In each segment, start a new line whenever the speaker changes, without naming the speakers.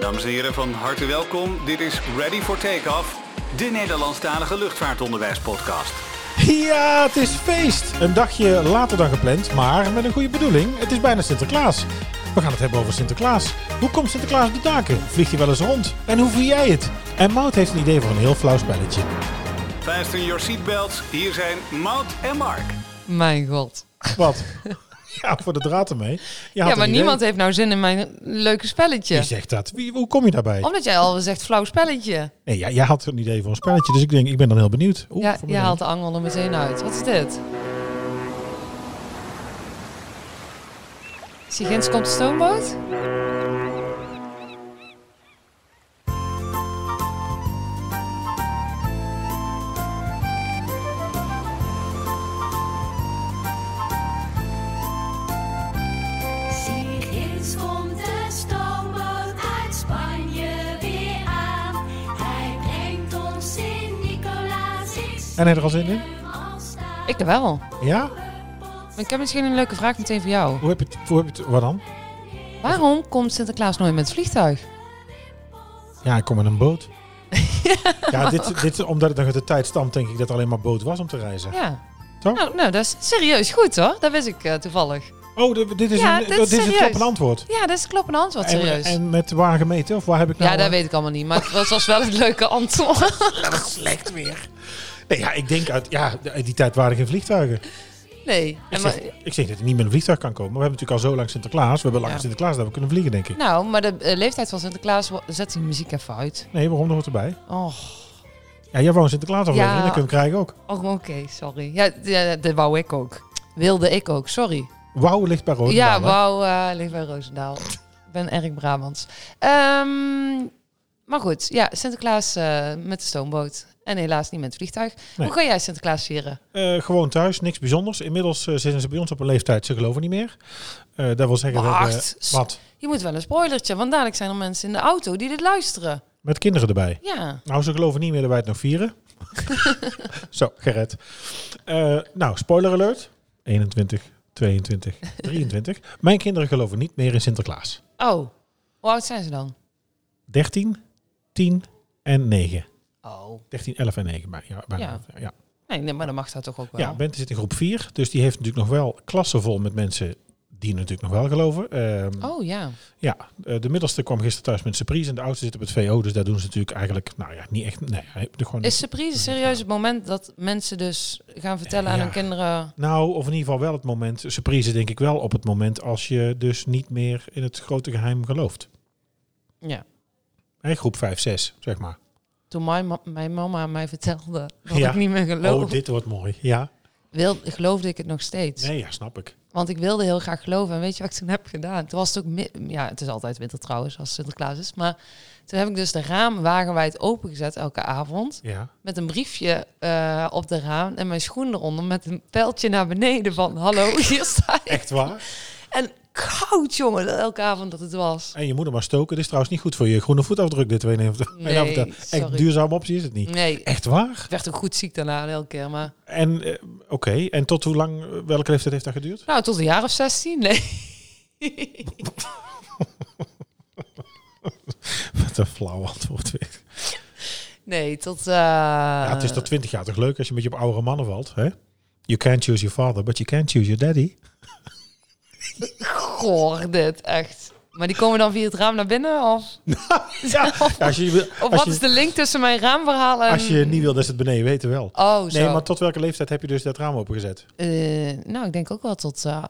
Dames en heren, van harte welkom. Dit is Ready for Takeoff, de Nederlandstalige luchtvaartonderwijspodcast.
Ja, het is feest! Een dagje later dan gepland, maar met een goede bedoeling. Het is bijna Sinterklaas. We gaan het hebben over Sinterklaas. Hoe komt Sinterklaas op de daken? Vliegt hij wel eens rond? En hoe vlieg jij het? En Mout heeft een idee voor een heel flauw spelletje.
Fasten your seatbelts, hier zijn Maud en Mark.
Mijn god.
Wat? Ja, voor de draad ermee. Je had
Ja,
een
maar
idee.
niemand heeft nou zin in mijn leuke
Wie
spelletje.
zegt dat? Wie, hoe kom je daarbij?
Omdat jij al zegt flauw spelletje.
Nee, jij, jij had een idee voor een spelletje, dus ik denk, ik ben dan heel benieuwd. Oeh,
Ja,
voor
je
mij.
haalt de angel er meteen uit. Wat is dit? Zie Gens komt de stoomboot?
Sigins komt de stoomboot uit Spanje weer aan. Hij brengt ons in Nicolaas.
En heb je er al zin in?
Ik er wel.
Ja?
Maar Ik heb misschien een leuke vraag meteen voor jou.
Hoe heb je het? Hoe heb je het wat dan?
Waarom komt Sinterklaas nooit met het vliegtuig?
Ja, ik kom in een boot. ja, dit, dit, omdat het nog uit de tijd stamt, denk ik dat er alleen maar boot was om te reizen.
Ja.
Toch?
Nou, nou, dat is serieus goed hoor. Dat wist ik eh, toevallig.
Oh, dit- dit is,
Ja,
een,
dit is
dit is het
serieus.
kloppend antwoord.
Ja, dat is een kloppend antwoord, serieus.
En, en met waar gemeten? Of waar heb ik nou...
ja, dat
eh,
weet ik allemaal niet. Maar het was, was wel een leuke antwoord.
Nee, ja, ik denk uit... Ja, uit die tijd waren er geen vliegtuigen.
Nee.
Ik
En
zeg,
maar-
ik zeg dat je niet met een vliegtuig kan komen. Maar we hebben natuurlijk al zo lang Sinterklaas. We hebben lang
Ja.
Sinterklaas dat we kunnen vliegen, denk ik.
Nou, maar de eh, leeftijd van Sinterklaas wo- zet die muziek even uit.
Nee, waarom? Dat hoort erbij.
Oh,
Ja, jij wou een Sinterklaas aflevering.
Ja.
Dat kunnen we krijgen ook.
oh oké, sorry. Ja, d- ja, dat wou ik ook. Wilde ik ook, sorry.
Wauw ligt bij Roosendaal.
ja,
hè?
wou eh ligt bij Roosendaal. ik ben erg Brabants. Ehm, maar goed, ja, Sinterklaas eh, met de stoomboot. En helaas niet met het vliegtuig.
Nee.
Hoe ga jij Sinterklaas vieren?
Eh, gewoon thuis, niks bijzonders. Inmiddels eh, zitten ze bij ons op een leeftijd, ze geloven niet meer. Eh, dat wil zeggen... dat, eh,
Wacht.
wat?
Je moet wel een spoilertje, want dadelijk zijn er mensen in de auto die dit luisteren.
Met kinderen erbij.
Ja.
Nou, ze geloven niet meer dat wij het nog vieren. Zo, gered. Eh, nou, spoiler alert. 21, 22, 23. Mijn kinderen geloven niet meer in Sinterklaas.
Oh, hoe oud zijn ze dan?
13, 10 en 9.
Oh.
13, 11 en 9. Maar, ja, bijna. ja. Ja.
Nee, nee, maar dan mag dat toch ook wel.
Bente zit in groep 4. Dus die heeft natuurlijk nog wel klassen vol met mensen die natuurlijk nog wel geloven. Ehm,
Oh ja.
Ja, eh, de middelste kwam gisteren thuis met surprise. En de oudste zit op het VO. Dus daar doen ze natuurlijk eigenlijk, nou ja, niet echt... Nee, gewoon
Is surprise serieus het moment dat mensen dus gaan vertellen aan
Ja.
hun kinderen...
Nou, of in ieder geval wel het moment, surprise denk ik wel op het moment als je dus niet meer in het grote geheim gelooft.
Ja,
Hè, groep 5, 6, zeg maar.
toen mijn, ma- mijn mama mij vertelde dat
Ja.
ik niet meer geloof,
Oh, dit wordt mooi. Ja.
wil, geloofde ik het nog steeds.
Nee, ja, snap ik.
Want ik wilde heel graag geloven. En weet je wat ik toen heb gedaan? Toen was het ook... mi- Ja, het is altijd winter trouwens, als Sinterklaas is. Maar toen heb ik dus de raam wagenwijd opengezet elke avond.
Ja.
Met een briefje eh, op de raam en mijn schoen eronder. Met een pijltje naar beneden van... Hallo, hier sta ik.
Echt waar?
En koud, jongen, elke avond dat het was.
En je moet er maar stoken. Het is trouwens niet goed voor je groene voetafdruk, dit. Weet je niet of dat-
Nee,
en of dat echt
sorry.
duurzame optie is het niet.
Nee,
Echt waar?
Ik werd ook goed ziek daarna elke keer, maar...
En eh, oké, en tot hoe lang, eh, welke leeftijd heeft dat geduurd?
Nou, tot een jaar of 16, nee.
Wat een flauw antwoord weer.
Nee, tot... eh,
ja, het is tot 20 jaar toch leuk als je een beetje op oudere mannen valt, hè? You can't choose your father, but you can choose your daddy.
Goor, dit, echt. Maar die komen dan via het raam naar binnen, of...
Ja, als je, wil-
Of
als
wat
je-
is de link tussen mijn raamverhaal en...
Als je niet wil dat ze het beneden weten wel.
Oh, zo.
nee, maar tot welke leeftijd heb je dus dat raam opengezet?
Eh, nou, ik denk ook wel tot eh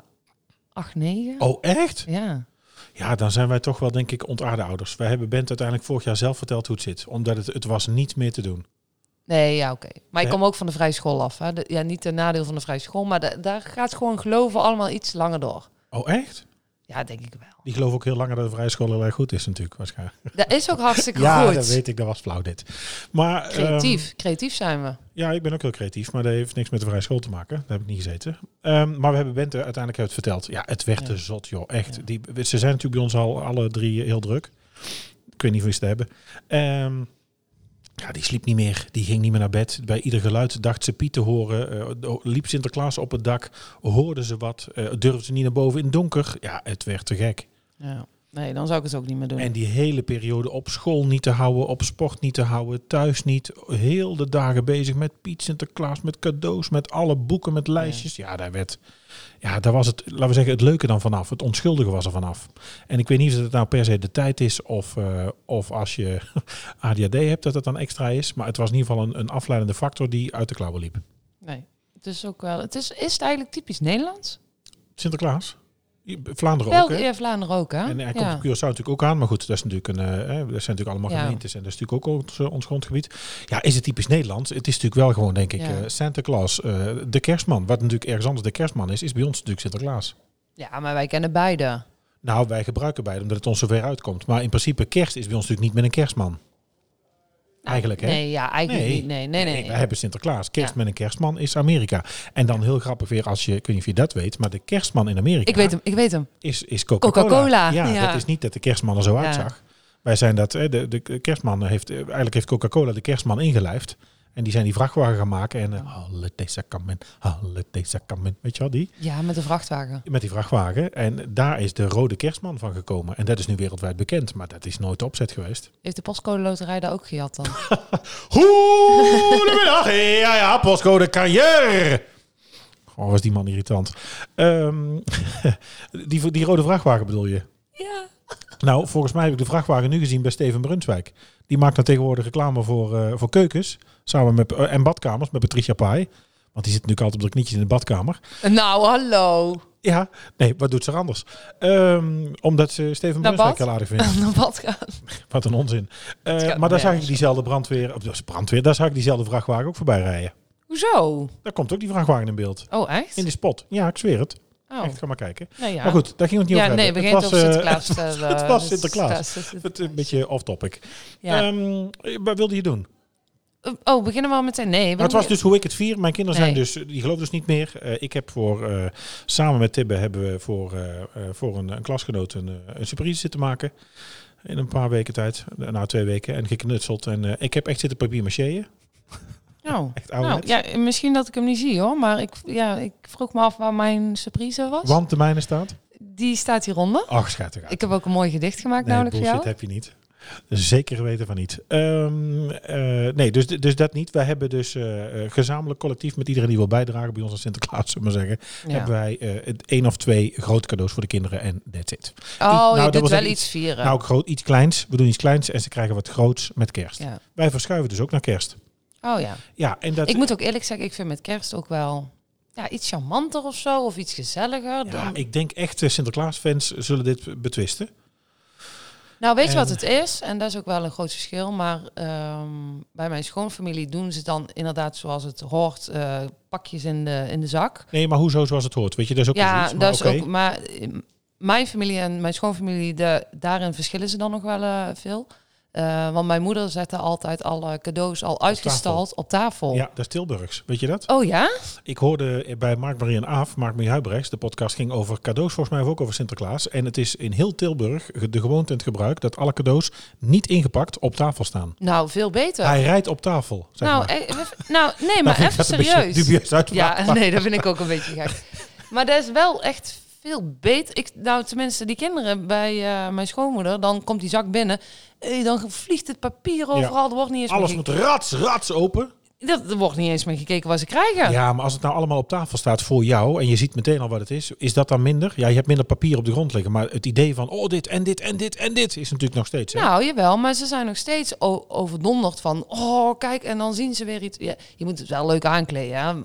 8, 9.
Oh, echt?
Ja.
Ja, dan zijn wij toch wel, denk ik, ontaarde ouders. Wij hebben Bent uiteindelijk vorig jaar zelf verteld hoe het zit. Omdat het, het was niet meer te doen.
Nee, ja, oké. Maar ik
Ja.
kom ook van de vrije school af. Hè. De- ja, niet ten nadeel van de vrije school, maar da- daar gaat gewoon geloven allemaal iets langer door.
Oh, echt?
Ja, denk ik wel.
Die geloven ook heel langer dat de vrije school heel erg goed is natuurlijk, waarschijnlijk.
Dat is ook hartstikke
Ja,
goed.
dat weet ik. Dat was flauw dit. Maar, ehm,
Creatief. Creatief zijn we.
ja, ik ben ook heel creatief, maar dat heeft niks met de vrije school te maken. Daar heb ik niet gezeten. Ehm, maar we hebben Bent uiteindelijk heeft verteld. Ja, het werd
Ja.
te zot, joh. Echt. Die, ze zijn natuurlijk bij ons al alle drie heel druk. Ik weet niet of je ze het hebben. Ehm, ja, die sliep niet meer. Die ging niet meer naar bed. Bij ieder geluid dacht ze Piet te horen. Eh, liep Sinterklaas op het dak. Hoorde ze wat. eh durfde ze niet naar boven in het donker. Ja, het werd te gek.
Ja. Nee, dan zou ik het ook niet meer doen.
En die hele periode op school niet te houden, op sport niet te houden, thuis niet. Heel de dagen bezig met Piet Sinterklaas, met cadeaus, met alle boeken, met lijstjes. Ja, daar werd... Ja, daar was het, laten we zeggen, het leuke dan vanaf. Het onschuldige was er vanaf. En ik weet niet of het nou per se de tijd is of, eh, of als je ADHD hebt dat het dan extra is. Maar het was in ieder geval een, een afleidende factor die uit de klauwen liep.
Nee. Het is ook wel. Het is, is het eigenlijk typisch Nederlands?
Sinterklaas? Vlaanderen ook,
België,
hè?
ja, Vlaanderen ook, hè?
En hij komt
ja.
op Curaçao natuurlijk ook aan. Maar goed, dat, is natuurlijk een, eh, hè, dat zijn natuurlijk allemaal
Ja.
gemeentes. En dat is natuurlijk ook ons, eh, ons grondgebied. Ja, is het typisch Nederlands? Het is natuurlijk wel gewoon, denk ik,
Ja.
eh, Santa Claus. eh, de kerstman. Wat natuurlijk ergens anders de kerstman is, is bij ons natuurlijk Sinterklaas.
ja, maar wij kennen beide.
Nou, wij gebruiken beide, omdat het ons zover uitkomt. Maar in principe, kerst is bij ons natuurlijk niet met een kerstman. Eigenlijk, hè?
Nou, Nee, ja, eigenlijk
Nee.
niet. Nee, nee, nee.
wij hebben Sinterklaas. Kerst
Ja.
met een kerstman is Amerika. En dan heel grappig weer als je, ik weet niet of je dat weet, maar de kerstman in Amerika
Ik weet hem, ik weet hem.
is, is Coca-Cola.
Coca-Cola,
Ja,
ja.
dat is niet dat de kerstman er zo
Ja.
uitzag. Wij zijn dat, hè, de, de kerstman heeft, eh, eigenlijk heeft Coca-Cola de kerstman ingelijfd. En die zijn die vrachtwagen gaan maken. En eh, holiday sacrament, holiday sacrament. Weet je wel, die?
Ja, met de vrachtwagen.
Met die vrachtwagen. En daar is de rode kerstman van gekomen. En dat is nu wereldwijd bekend. Maar dat is nooit de opzet geweest.
Heeft de postcode loterij daar ook gehad dan?
Goedemiddag, ja ja, postcode carrière. Oh, was die man irritant. Ehm, die, die rode vrachtwagen bedoel je?
ja.
Nou, volgens mij heb ik de vrachtwagen nu gezien bij Steven Brunswijk. Die maakt dan tegenwoordig reclame voor, eh, voor keukens. Samen met, eh, en badkamers met Patricia Pai. Want die zit natuurlijk altijd op de knietjes in de badkamer.
Nou, hallo.
Ja, nee, wat doet ze er anders? Ehm, omdat ze Steven
Naar
Brunswijk
bad?
heel aardig vindt.
Naar bad gaan.
Wat een onzin. Eh,
gaat
maar daar zag ik
nergens
diezelfde brandweer, of dat is brandweer, daar zag ik diezelfde vrachtwagen ook voorbij rijden.
Hoezo?
Daar komt ook die vrachtwagen in beeld.
Oh, echt?
In de spot. Ja, ik zweer het.
Oh.
Echt, ga maar kijken.
Nou ja.
Maar goed, daar ging het niet
ja,
over
nee, we
hebben.
gaan het over
eh,
Sinterklaas. eh,
het
eh,
was Sinterklaas. Het, eh, een beetje off-topic.
Ja.
Ehm, wat wilde je doen?
oh, we beginnen we al meteen? Nee. we
Maar het was
moeten-
dus hoe ik het vier. Mijn kinderen zijn
Nee.
dus, die geloven dus niet meer. Eh, ik heb voor, eh, samen met Tibbe hebben we voor, eh, eh, voor een, een klasgenoot een, eh, een surprise zitten maken. In een paar weken tijd, nou twee weken, en geknutseld. En eh, ik heb echt zitten papier macheën.
Nou,
Echt
nou
ouderwets.
ja, misschien dat ik hem niet zie hoor. Maar ik, ja, ik vroeg me af waar mijn surprise was.
Want de mijne staat.
Die staat hieronder.
Ach, schat eruit.
Ik heb ook een mooi gedicht gemaakt,
Nee,
namelijk voor
bullshit
jou.
heb je niet. Zeker weten van niet. Ehm, eh, nee, dus, dus dat niet. Wij hebben dus eh, eh, gezamenlijk collectief met iedereen die wil bijdragen bij ons aan Sinterklaas, zullen we maar zeggen,
Ja.
hebben wij eh, het één of twee grote cadeaus voor de kinderen en that's it.
Oh,
nou,
je
dat
doet
was
wel
echt
iets vieren.
Nou, groot, iets kleins. We doen iets kleins en ze krijgen wat groots met kerst.
ja.
Wij verschuiven dus ook naar kerst.
Oh ja.
Ja, en dat...
Ik moet ook eerlijk zeggen, ik vind met kerst ook wel ja, iets charmanter of zo. Of iets gezelliger.
ja,
Dan-
ik denk echt eh, Sinterklaas-fans zullen dit betwisten.
Nou, weet je
En-
wat het is? En dat is ook wel een groot verschil. Maar ehm, bij mijn schoonfamilie doen ze het dan inderdaad zoals het hoort. eh, pakjes in de, in de zak.
Nee, maar hoezo zoals het hoort? Weet je, dat is ook
ja,
iets.
dat is ook. Maar eh, mijn familie en mijn schoonfamilie, de, daarin verschillen ze dan nog wel eh, veel. Eh, want mijn moeder zette altijd alle cadeaus al uitgestald op tafel.
Ja, dat is Tilburgs. Weet je dat?
Oh ja?
Ik hoorde bij Mark Marie en Aaf, Mark Marie Huibrechts, de podcast ging over cadeaus, volgens mij of ook over Sinterklaas. En het is in heel Tilburg de gewoonte en het gebruik dat alle cadeaus niet ingepakt op tafel staan.
Nou, veel beter.
Hij rijdt op tafel, zeg
nou,
maar.
eh, even- nou, nee, maar
vind ik
even
dat een beetje
serieus.
dubieus uitspraak,
Ja,
maar-
nee, dat vind ik ook een beetje gek. Maar dat is wel echt veel beter. Ik, nou, tenminste, die kinderen bij eh, mijn schoonmoeder, dan komt die zak binnen. Eh, dan vliegt het papier overal. Er wordt niet eens
Alles
meer
moet rats, rats open.
ge- dat, er wordt niet eens meer gekeken wat ze krijgen.
Ja, maar als het nou allemaal op tafel staat voor jou en je ziet meteen al wat het is, is dat dan minder? Ja, je hebt minder papier op de grond liggen, maar het idee van, oh, dit en dit en dit en dit is natuurlijk nog steeds. Hè?
Nou, jawel, maar ze zijn nog steeds o- overdonderd van... Oh, kijk, en dan zien ze weer iets. Ja, je moet het wel leuk aankleden, hè? M-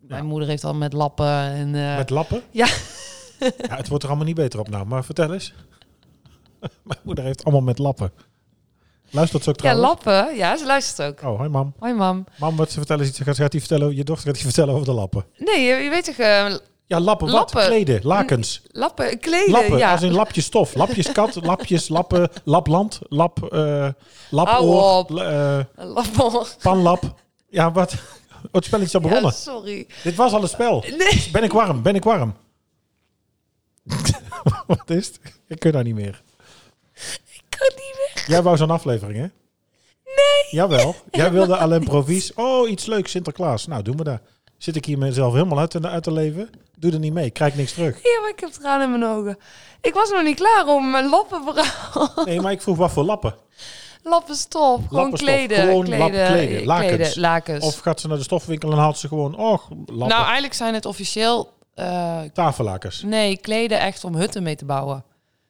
Mijn moeder heeft al met lappen en... eh,
Met lappen?
Ja.
ja. Het wordt er allemaal niet beter op nou, maar vertel eens. Mijn moeder heeft allemaal met lappen. Luistert ze ook
ja,
trouwens?
lappen. Ja, ze luistert ook.
Oh, hoi mam.
Hoi, mam.
Mam, wat ze vertellen, is- gaat, gaat die vertellen, je dochter gaat die vertellen over de lappen.
Nee, je, je weet toch... eh,
Ja, lappen, wat?
Lappen.
Kleden, lakens.
lappen, kleden,
Lappen,
ja.
als in lapjes stof. Lapjes kat, lapjes, lappen, lapland, lap, eh lapoor,
Hou op.
l- eh,
Lappen.
panlap. Ja, wat? Oh, het spel is al
Ja,
begonnen.
sorry.
Dit was al een spel.
Nee.
Ben ik warm, ben ik warm. wat is het? Ik kan daar niet meer.
Ik kan niet meer.
Jij wou zo'n aflevering, hè?
Nee.
Jawel. Jij wilde alleen provies. Oh, iets leuks, Sinterklaas. Nou, doen we dat. Zit ik hier mezelf helemaal uit te, uit te leven? Doe er niet mee, krijg niks terug.
Ja, maar ik heb tranen in mijn ogen. Ik was nog niet klaar om mijn lappenverhaal.
Nee, maar ik vroeg wat voor lappen.
Lappenstof, gewoon
Lappenstof,
kleden.
gewoon
kleden,
lappen kleden,
eh,
lakens.
lakens.
Of gaat ze naar de stofwinkel en haalt ze gewoon, oh, lappen,
Nou, eigenlijk zijn het officieel... eh,
tafellakens.
nee, kleden echt om hutten mee te bouwen.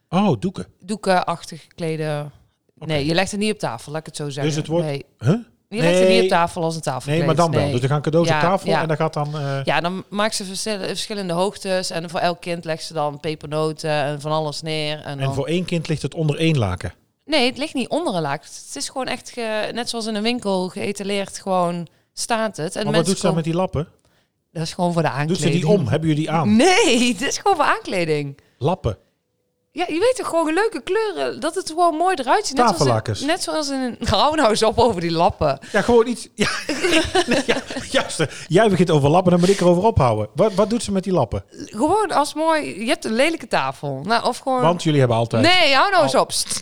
Oh, doeken.
Doekenachtig kleden. Nee, je legt het niet op tafel, laat ik het zo zeggen.
Dus het wordt-
Nee,
Huh?
je legt het
Nee.
niet op tafel als een tafel.
Nee, maar dan wel. Dus er gaan cadeaus
Ja,
op tafel
ja.
en dan gaat dan... eh,
Ja, dan maakt ze verschil- verschillende hoogtes. En voor elk kind legt ze dan pepernoten en van alles neer. En dan...
En voor één kind ligt het onder één laken.
Nee, het ligt niet onder een laak. Het is gewoon echt, ge- net zoals in een winkel, geëtaleerd gewoon staat het. En
Maar
mensen
wat doet ze dan
komen-
met die lappen?
Dat is gewoon voor de
Doet
aankleding.
ze die om? Hebben jullie die
Mm.
aan?
Nee, het is gewoon voor aankleding.
Lappen.
Ja, je weet toch gewoon leuke kleuren, dat het gewoon mooi eruit ziet. Net zoals in-
Tafellakkers.
Net zoals in een... Hou nou eens op over die lappen.
Ja, gewoon iets... Ja, nee, ja, juist. eh, Jij begint over lappen, dan moet ik erover ophouden. Wat, wat doet ze met die lappen?
Gewoon als mooi... Je hebt een lelijke tafel. Nou, of gewoon...
Want Oh. jullie hebben altijd...
Nee, hou nou eens op. Sst.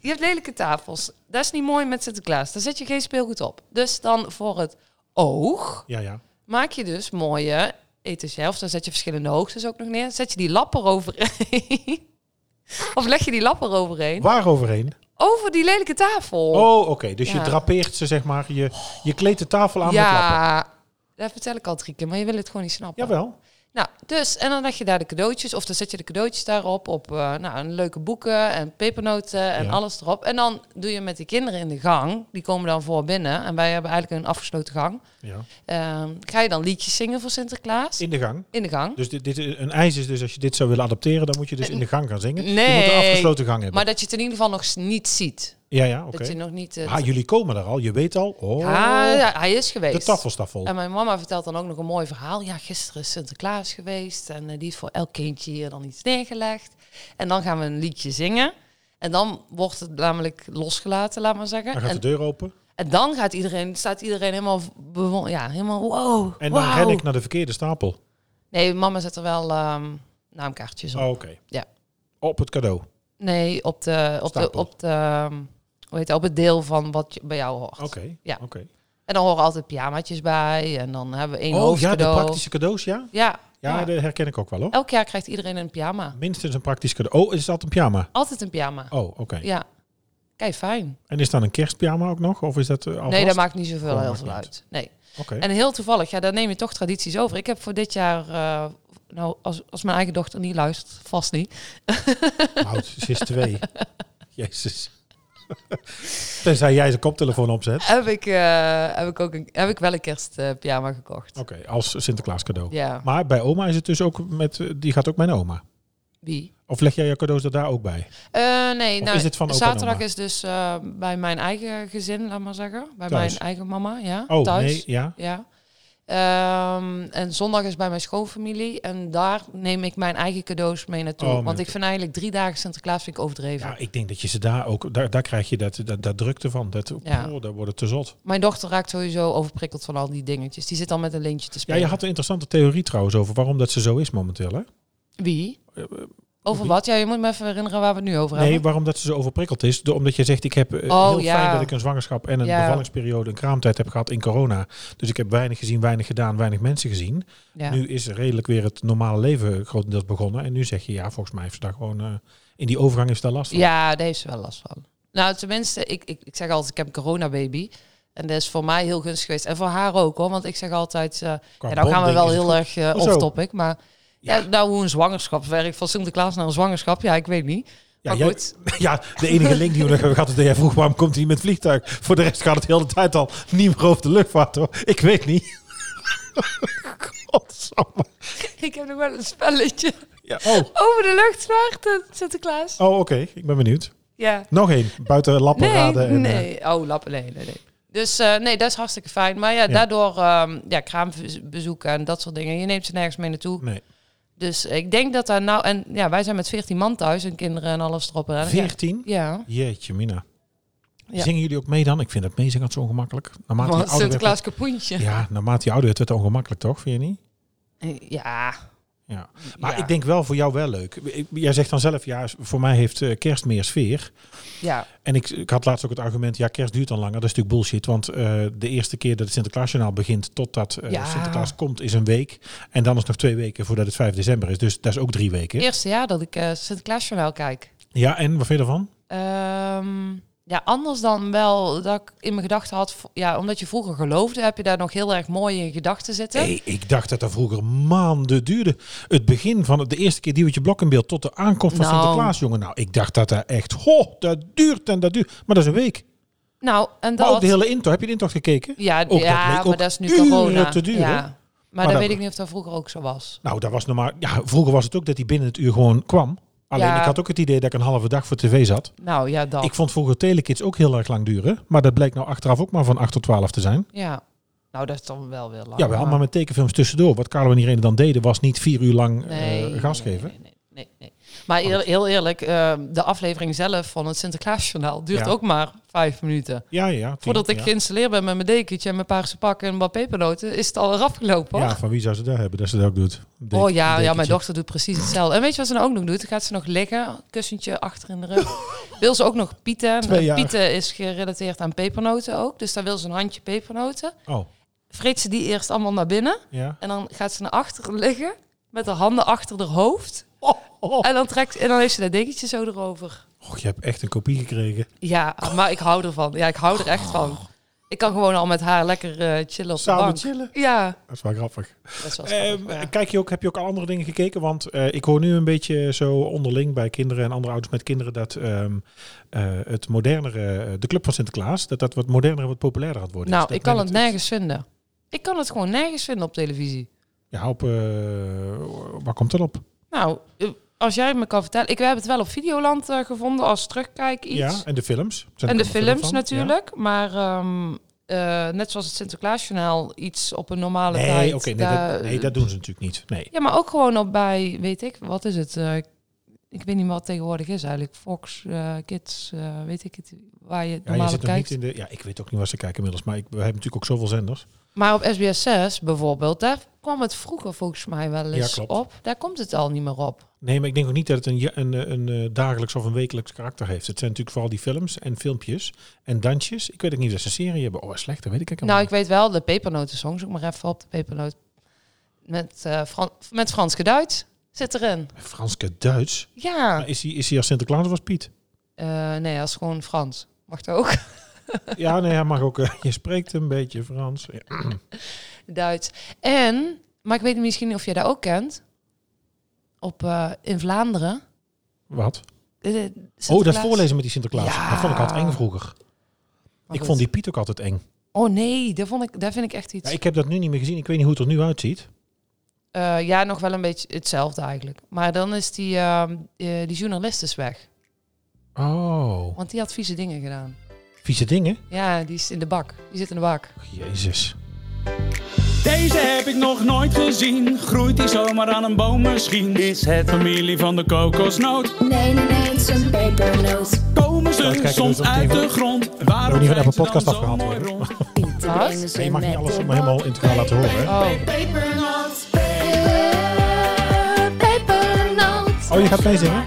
Je hebt lelijke tafels. Dat is niet mooi met Sinterklaas. Daar zet je geen speelgoed op. Dus dan voor het oog
Ja, ja.
maak je dus mooie etagères. Dan zet je verschillende hoogtes ook nog neer. Zet je die lapper overheen. Of leg je die lapper overheen.
Waar overheen?
Over die lelijke tafel.
Oh, oké. Dus je
Ja.
drapeert ze, zeg maar. Je, je kleedt de tafel aan met lappen.
ja, dat vertel ik al drie keer, maar je wil het gewoon niet snappen.
Jawel.
Nou, dus, en dan leg je daar de cadeautjes, of dan zet je de cadeautjes daarop, op eh, nou, een leuke boeken en pepernoten en
Ja.
alles erop. En dan doe je met die kinderen in de gang, die komen dan voor binnen, en wij hebben eigenlijk een afgesloten gang.
Ja.
Ehm, ga je dan liedjes zingen voor Sinterklaas? In,
In de gang.
de gang.
Dus dit, dit, een eis is dus, als je dit zou willen adopteren, dan moet je dus in de gang gaan zingen. Je moet
Nee.
een afgesloten gang hebben.
Maar dat je het in ieder geval nog s- niet ziet.
ja, ja, oké.
Dat je nog niet... eh,
Ah, jullie komen daar al. Je weet al. Oh,
ja, ja, hij is
de
geweest.
tafel staat vol.
En mijn mama vertelt dan ook nog een mooi verhaal. Ja, gisteren is Sinterklaas geweest en eh, die heeft voor elk kindje hier dan iets neergelegd. En dan gaan we een liedje zingen. En dan wordt het namelijk losgelaten, laat maar zeggen.
Dan gaat de
En,
deur open.
en dan gaat iedereen, staat iedereen helemaal, bewo- ja, helemaal wow.
En dan
wauw.
ren ik naar de verkeerde stapel.
Nee, mama zet er wel ehm, naamkaartjes op.
Oh, oké.
Ja.
Op het cadeau.
Nee, op de, op de,
Stapel.
op de, ehm, hoe heet het, op het deel van wat je- bij jou hoort.
Oké.
Ja.
oké.
En dan horen altijd pyjamaatjes bij. En dan hebben we één
Oh ja, de
hoofdcadeau.
praktische cadeaus, ja?
Ja,
Ja,
ja.
dat herken ik ook wel hoor.
Elk jaar krijgt iedereen een pyjama.
Minstens een praktisch cadeau. Oh, is dat een pyjama?
Altijd een pyjama.
Oh, oké.
Ja. Kijk, fijn.
En is dat een kerstpyjama ook nog? Of is dat eh, alvast?
Nee, dat maakt niet zoveel
Oh,
heel
maakt
veel
niet
uit. Nee.
Oké.
En heel toevallig, ja, daar neem je toch tradities over. Ik heb voor dit jaar, eh, nou, als, als mijn eigen dochter niet luistert, vast niet.
Houd, ze Nou, is twee. Jezus. Tenzij jij zijn koptelefoon opzet.
Heb ik, eh, heb ik, ook een, heb ik wel een kerstpyjama pyjama gekocht.
Oké, als Sinterklaas cadeau.
Ja.
Oh, Maar bij oma is het dus ook met... eh, Die gaat ook mijn oma.
Wie?
Of leg jij je cadeaus er daar ook bij?
Eh, nee,
Of
nou,
is dit van opa en
zaterdag
oma?
is dus eh, bij mijn eigen gezin, laat maar zeggen. Bij
Thuis.
mijn eigen mama, ja.
Oh,
thuis.
nee, ja.
Ja. Ehm, en zondag is bij mijn schoonfamilie. En daar neem ik mijn eigen cadeaus mee naartoe.
Oh,
Want
maar-
ik vind eigenlijk drie dagen Sinterklaas vind ik overdreven.
Ja, ik denk dat je ze daar ook... Daar, daar krijg je dat, dat, dat drukte van. Dat,
Ja.
oh, daar wordt het te zot.
Mijn dochter raakt sowieso overprikkeld van al die dingetjes. Die zit al met een lintje te
Ja,
spelen.
je had een interessante theorie trouwens over waarom dat ze zo is momenteel, hè?
Wie? Over
Eh, wie?
wat? Ja, je moet me even herinneren waar we het nu over
Nee,
hebben.
waarom dat ze zo overprikkeld is. Door- Omdat je zegt, ik heb eh,
Oh,
heel
ja.
fijn dat ik een zwangerschap en een
Ja.
bevallingsperiode, een kraamtijd heb gehad in corona. Dus ik heb weinig gezien, weinig gedaan, weinig mensen gezien.
Ja.
Nu is redelijk weer het normale leven grotendeels begonnen. En nu zeg je, ja, volgens mij heeft ze daar gewoon... eh, in die overgang is daar last van.
Ja, daar heeft ze wel last van. Nou, tenminste, ik, ik, ik zeg altijd, ik heb een coronababy. En dat is voor mij heel gunstig geweest. En voor haar ook, hoor. Want ik zeg altijd, eh
Qua
ja, nou gaan we
bonding
wel
is het
heel
goed.
erg eh
Hoezo?
off-topic. Maar ja.
Ja.
nou, hoe een zwangerschap werkt. Van Sinterklaas naar een zwangerschap, ja, ik weet niet.
Ja,
Maar
jij-
goed.
ja, de enige link die we nog hebben gehad is dat jij vroeg waarom komt hij niet met het vliegtuig. Voor de rest gaat het heel de hele tijd al niet meer over de luchtvaart hoor. Ik weet niet. Godsamme.
Ik heb nog wel een spelletje
Ja, oh,
over de luchtvaart en Sinterklaas.
oh oké. Ik ben benieuwd.
Ja.
Nog één. Buiten lappen
Nee,
raden. En, eh,
nee. oh, lappen, nee, nee, nee. Dus eh, nee, dat is hartstikke fijn. Maar ja, daardoor ehm ja, kraambezoeken en dat soort dingen. Je neemt ze nergens mee naartoe.
eh, nee.
Dus ik denk dat daar nou... En ja, wij zijn met 14 man thuis en kinderen en alles erop en aan.
14?
Ja.
Jeetje mina.
Ja.
Zingen jullie ook mee dan? Ik vind dat meezingen zo ongemakkelijk. Naarmate je
Van
ouder werd,
Sinterklaas Kapoentje.
ja, naarmate je ouder werd, werd het ongemakkelijk toch? Vind je niet?
Ja.
Ja. Maar
Ja.
ik denk wel voor jou wel leuk. Ik- Jij zegt dan zelf, ja, voor mij heeft eh, kerst meer sfeer.
Ja,
En ik, ik had laatst ook het argument, ja, kerst duurt dan langer. Dat is natuurlijk bullshit, want eh, de eerste keer dat het Sinterklaasjournaal begint totdat eh,
Ja.
Sinterklaas komt is een week. En dan is nog twee weken voordat het 5 december is. Dus dat is ook drie weken.
eerste jaar dat ik eh Sinterklaasjournaal kijk.
Ja, en wat vind je ervan?
Ehm, ja, anders dan wel dat ik in mijn gedachten had. v- Ja, omdat je vroeger geloofde, heb je daar nog heel erg mooi in gedachten zitten.
Hey, ik dacht dat dat vroeger maanden duurde. Het begin van het- de eerste keer Diewertje Blok in beeld tot de aankomst van
Nou.
Sinterklaas, jongen. Nou, ik dacht dat dat echt, ho, dat duurt en dat duurt. Maar dat is een week.
Nou, en
Maar
dat.
ook de hele intocht, heb je de intocht gekeken?
ja,
dat
ja
bleek ook
maar dat is nu
uren
corona.
te duren.
Ja.
Maar nou
Maar,
dat-
dan weet ik niet of dat vroeger ook zo was.
Nou, dat was normaal. Ja, vroeger was het ook dat hij binnen het uur gewoon kwam. Alleen
Ja.
ik had ook het idee dat ik een halve dag voor tv zat.
Nou ja, dat.
Ik vond vroeger telekids ook heel erg lang duren. Maar dat blijkt nou achteraf ook maar van 8 tot 12 te zijn.
Ja. Nou, dat is dan wel weer lang.
Ja, wel, maar met tekenfilms tussendoor. Wat Carlo en Irene dan deden, was niet vier uur lang eh, gas
nee,
geven.
Nee, nee, nee, nee. Maar heel, heel eerlijk, eh, de aflevering zelf van het Sinterklaasjournaal duurt
Ja.
ook maar vijf minuten.
Ja, ja. tien,
Voordat ik
ja.
geïnstalleerd ben met mijn dekentje en mijn paarse pak en wat pepernoten, is het al eraf gelopen. hoor.
Ja, van wie zou ze daar hebben dat ze dat ook doet? Dek-
oh ja, ja, mijn
dekentje.
dochter doet precies hetzelfde. En weet je wat ze nou ook nog doet? Dan gaat ze nog liggen, kussentje achter in de rug. wil ze ook nog pieten. Nou,
Twee jaar.
Pieten is gerelateerd aan pepernoten ook. Dus daar wil ze een handje pepernoten.
Oh,
Vreet ze die eerst allemaal naar binnen.
ja.
En dan gaat ze naar achter liggen met haar handen achter haar hoofd.
Oh, oh.
En dan, trekt, en dan heeft ze dat dekentje zo erover.
Och, je hebt echt een kopie gekregen.
Ja, maar ik hou ervan. Ja, ik hou er echt van. Ik kan gewoon al met haar lekker eh, chillen op
Samen
de bank.
chillen.
Ja,
Dat is wel grappig.
dat is wel
Ehm,
grappig, ja.
Kijk je ook, heb je ook al andere dingen gekeken? Want eh, ik hoor nu een beetje zo onderling bij kinderen en andere ouders met kinderen dat ehm, eh, het modernere, eh, de Club van Sinterklaas, dat dat wat moderner en wat populairder gaat worden.
Nou,
Dus dat
ik kan
neemt
het nergens vinden. Ik kan het gewoon nergens vinden op televisie.
Ja, op, eh, waar komt dat op?
Nou, eh, als jij me kan vertellen. Ik heb het wel op Videoland eh, gevonden als terugkijk iets.
Ja, en de films. Zijn er
en de
allemaal
films
van?
natuurlijk. Maar ehm, eh, net zoals het Sinterklaasjournaal, iets op een
Ja.
normale tijd. eh,
Nee, oké, nee, dat,
daar-
nee, dat doen ze natuurlijk niet. Nee.
Ja, maar ook gewoon op bij, weet ik, wat is het? eh, ik weet niet wat het tegenwoordig is eigenlijk. Fox, eh, Kids, eh, weet ik het, waar je het
Ja, je
normaal
zit
op
nog
kijkt.
niet in de. Ja, ik weet ook niet waar ze kijken inmiddels, maar ik, we hebben natuurlijk ook zoveel zenders.
Maar op SBS 6 bijvoorbeeld, daar kwam het vroeger volgens mij wel
Ja,
eens
klopt.
op. Daar komt het al niet meer op.
Nee, maar ik denk ook niet dat het een, ja- een, eh, een, eh, dagelijks of een wekelijks karakter heeft. Het zijn natuurlijk vooral die films en filmpjes en dansjes. Ik weet ook niet of ze een serie hebben. Oh, wat slecht, dat weet ik eigenlijk
Nou, ik
helemaal
weet wel, de pepernoten song, zoek maar even op, de pepernoot. Met, eh Fran- met Franske Duits zit erin.
niet. Franske Duits.
Ja,
Maar Is hij is hij als Sinterklaas of als Piet?
Eh, nee, dat is gewoon Frans. Mag dat ook?
ja, nee, hij mag ook. eh, je spreekt een beetje Frans. Ja.
Duits. En, maar ik weet misschien of je dat ook kent, op, eh, in Vlaanderen.
Wat?
Eh,
Oh, dat
Sinterklaas.
voorlezen met die Sinterklaas.
Ja.
Dat vond ik altijd eng vroeger.
Maar
ik
goed.
vond die Piet ook altijd eng.
Oh nee, daar, vond ik, daar vind ik echt iets.
Ja,
Eh,
ik heb dat nu niet meer gezien. Ik weet niet hoe het er nu uitziet.
Eh, Ja, nog wel een beetje hetzelfde eigenlijk. Maar dan is die, ehm, eh, die journalist is weg.
Oh,
Want die had vieze dingen gedaan.
vieze dingen.
Ja, die is in de bak. Die zit in de bak.
Jezus.
Deze heb ik nog nooit gezien. Groeit die zomaar aan een boom misschien? Is het familie van de kokosnoot?
Nee, nee, nee, het is een pepernoot.
Komen
Kijk,
ze
kijken,
soms
dat is ook
uit
niet
de
van-
grond? Waarom
niet van
zijn
Apple
ze dan
Podcast
zo
afgehaald
mooi
worden.
rond?
Piet de
Wat?
ene zin
Nee, je mag niet
met
alles
de
maar helemaal
bak.
integraal laten horen. Hè?
Oh,
Pepernoot, peper, pepernoot.
Oh, je gaat meezingen?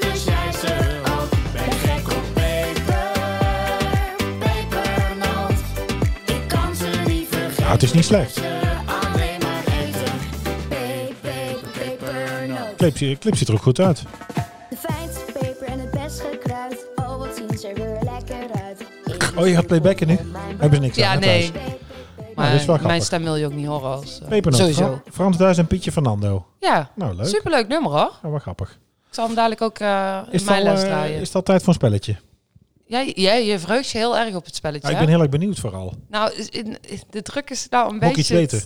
Dus jij ze ook. Ben gek op peper, pepernoot. Ik kan ze niet vergeten.
Ja, het is niet slecht.
Alleen maar eten. Pe- pe- Pepernoot.
Clip, zie- clip ziet er ook goed uit.
De fijnste peper en het best gekruid. Oh, wat zien ze er lekker uit.
Oh, je gaat playbacken nu? Hebben ze niks
Ja,
aan, hè,
nee.
thuis? dat is
maar
wel grappig.
mijn stem wil je ook niet horen als... eh,
Pepernoot.
Sowieso.
Fra- Frans Duis en Pietje Fernando.
Ja,
Nou, leuk.
superleuk nummer hoor.
Ja, wel grappig.
Ik zal hem dadelijk ook eh
Is
in
het al,
mijn les
eh,
draaien.
is het al tijd voor een spelletje?
Jij, jij, je verheugt je heel erg op het spelletje.
Ja, ik
hè?
ben heel erg benieuwd vooral.
Nou, is- in- is- de druk is nou een
Moet ik iets
beetje...
weten?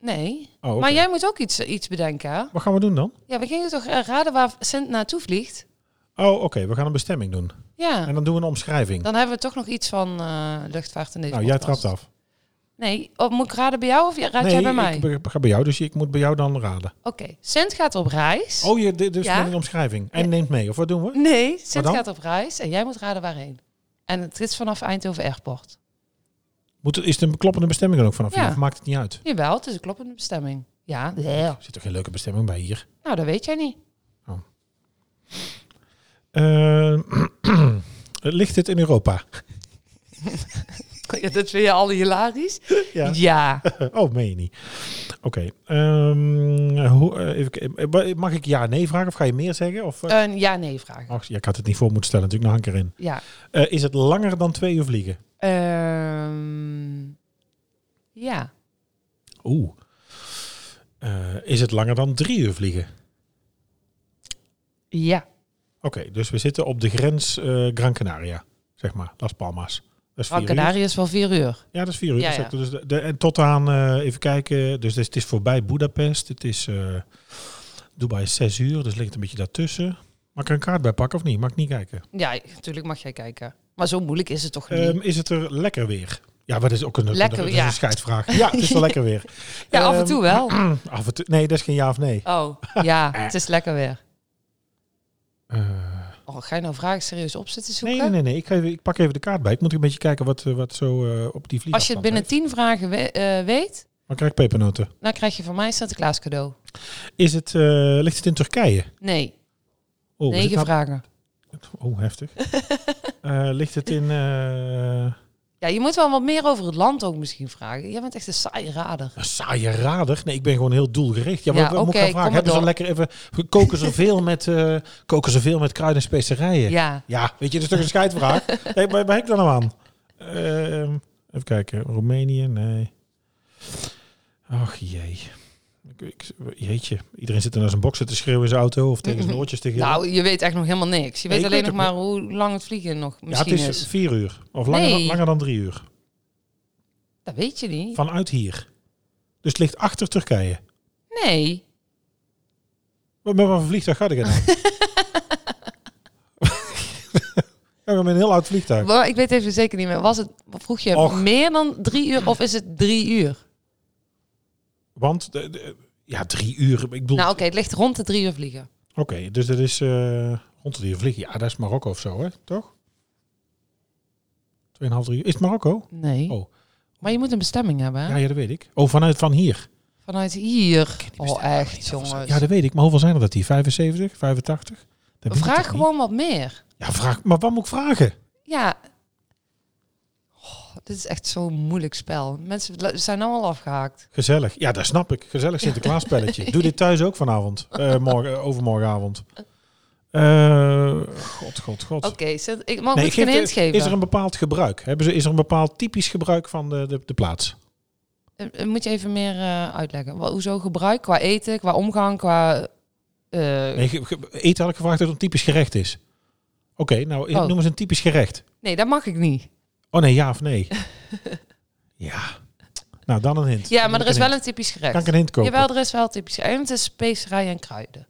Nee.
Oh, oké.
Maar jij moet ook iets, iets bedenken. hè?
Wat gaan we doen dan?
Ja, we gingen toch eh, raden waar Sint naartoe vliegt?
Oh, oké. we gaan een bestemming doen.
Ja.
En dan doen we een omschrijving.
Dan hebben we toch nog iets van eh, luchtvaart in deze
nou, jij
podcast.
trapt af.
Nee, oh, moet ik raden bij jou of raad jij bij mij?
ik
Oké,
be- ga bij jou, dus ik moet bij jou dan raden.
Sint gaat op reis.
Oh, je, dit is
Ja?
gewoon een omschrijving. En neemt mee, of wat doen we?
Nee,
Maar
Sint
dan?
gaat op reis en jij moet raden waarheen. En het is vanaf Eindhoven Airport.
Moet, het- is de kloppende bestemming dan ook vanaf
Ja.
hier? Of maakt het niet uit?
Jawel, het is een kloppende bestemming. Ja,
Er Oh, zit toch geen leuke bestemming bij hier?
nou dat weet jij niet.
Eh, ligt dit in Europa?
Ja, dat vind je al hilarisch.
Ja.
ja.
Oh, meen je niet. Oké. ehm, hoe- eh, even kijken. Eh, mag ik ja, nee vragen of ga je meer zeggen? Of, eh,
Een ja-nee vraag.
Ach, ja, ik had het niet voor moeten stellen, natuurlijk nog een keer in.
Ja.
Eh, is het langer dan twee uur vliegen?
Ehm, ja.
Oeh. Eh, is het langer dan drie uur vliegen?
Ja.
Oké, dus we zitten op de grens eh, Gran Canaria, zeg maar, Las Palmas. Dat is
Gran
vier uur.
Canaria is wel vier uur.
Ja, dat is vier uur.
Ja,
exact.
ja.
Dus de, de- en tot aan, eh, even kijken, dus het is voorbij Budapest. Het is, eh, Dubai is zes uur, dus ligt een beetje daartussen. Mag ik er een kaart bij pakken of niet? Mag ik niet kijken.
Ja, natuurlijk mag jij kijken. Maar zo moeilijk is het toch niet?
Ehm, is het er lekker weer? Ja, maar dat is ook een,
Lekker,
dat is
ja.
een scheidvraag. Ja, het is wel lekker weer.
ja, af en
ehm,
toe wel.
Af en toe, nee, dat is geen ja of nee.
Oh, ja, het is lekker weer.
Eh,
Oh, ga je nou vragen serieus op zitten zoeken?
nee, nee, nee, nee. Ik, ga even, ik pak even de kaart bij. Ik moet een beetje kijken wat, eh, wat zo eh, op die vliegtuig
Als je het binnen tien vragen we- eh, weet,
Dan krijg ik pepernoten.
dan krijg je van mij Sinterklaas cadeau.
Is het, eh, ligt het in Turkije?
Nee,
Oh, we
negen
zitten aan-
vragen.
Oh, heftig. Eh, ligt het in... eh,
Ja, je moet wel wat meer over het land ook misschien vragen. Jij bent echt een saaie rader.
Een saaie rader. Nee, ik ben gewoon heel doelgericht. Ja,
Ja,
maar wat moet
oké,
ik gaan
kom
vragen?
maar
Hebben ze
door.
lekker even... Koken ze veel met, eh, koken ze veel met kruiden en specerijen?
Ja,
Ja, weet je, dat is toch een scheidvraag? nee, waar ben ik dan nou aan? Ehm, even kijken. Roemenië? Nee. Ach jee. Ik- ik- Jeetje, iedereen zit er naar zijn boksen te schreeuwen in zijn auto of tegen zijn oortjes te gillen.
nou, je weet echt nog helemaal niks. Je
Nee,
weet
ik
alleen
weet
nog
het
maar hoe lang het vliegen nog
ja, het
misschien
is,
is.
vier uur. Of langer,
Nee.
langer dan drie uur.
Dat weet je niet.
Vanuit hier. Dus het ligt achter Turkije.
Nee.
Maar met wat voor vliegtuig ga ik er dan? Ja, maar met een heel oud vliegtuig.
Maar ik weet even zeker niet meer. Was het, vroeg je
Och.
meer dan drie uur of is het drie uur?
Want, de- de- ja, drie uur. Ik bedoel,
Nou oké, het ligt rond de drie uur vliegen.
Oké, dus dat is eh rond de uur vliegen. Ja, dat is Marokko of zo, hè? Toch? Tweeënhalf, drie uur. Is het Marokko?
Nee.
Oh.
Maar je moet een bestemming hebben hè?
Ja, ja, dat weet ik. Oh, vanuit van hier.
vanuit hier. Oh
bestemming
echt jongens.
Ja, dat weet ik. Maar hoeveel zijn er dat hier? 75, 85? Dat weet ik
Vraag
toch niet?
gewoon wat meer.
Ja, vraag. Maar wat moet ik vragen?
Ja. Oh, dit is echt zo'n moeilijk spel. Mensen la- zijn nou al afgehaakt.
Gezellig. Ja, dat snap ik. Gezellig Sinterklaaspelletje. Doe dit thuis ook vanavond. Eh, morgen, eh, overmorgenavond. Eh, god, god, god.
Oké, Sint- ik Oh, mag
Nee,
ik
geef
geen hint
de-
geven.
Is er een bepaald gebruik? Hebben ze, is er een bepaald typisch gebruik van de, de, de plaats?
Eh, eh, Moet je even meer eh, uitleggen. Wa- Hoezo gebruik qua eten, qua omgang, qua... eh, nee.
Nee, ge- ge- eten had ik gevraagd dat het een typisch gerecht is. Oké, nou eh,
Oh.
noem eens een typisch gerecht.
dat mag ik niet.
Oh nee, ja of nee? ja. Nou, dan een hint.
Ja,
Dan
maar
moet
er is
ik
wel
hint.
een typisch gerecht.
Kan ik een hint kopen?
Jawel, er is wel typisch. En het is specerijen en kruiden.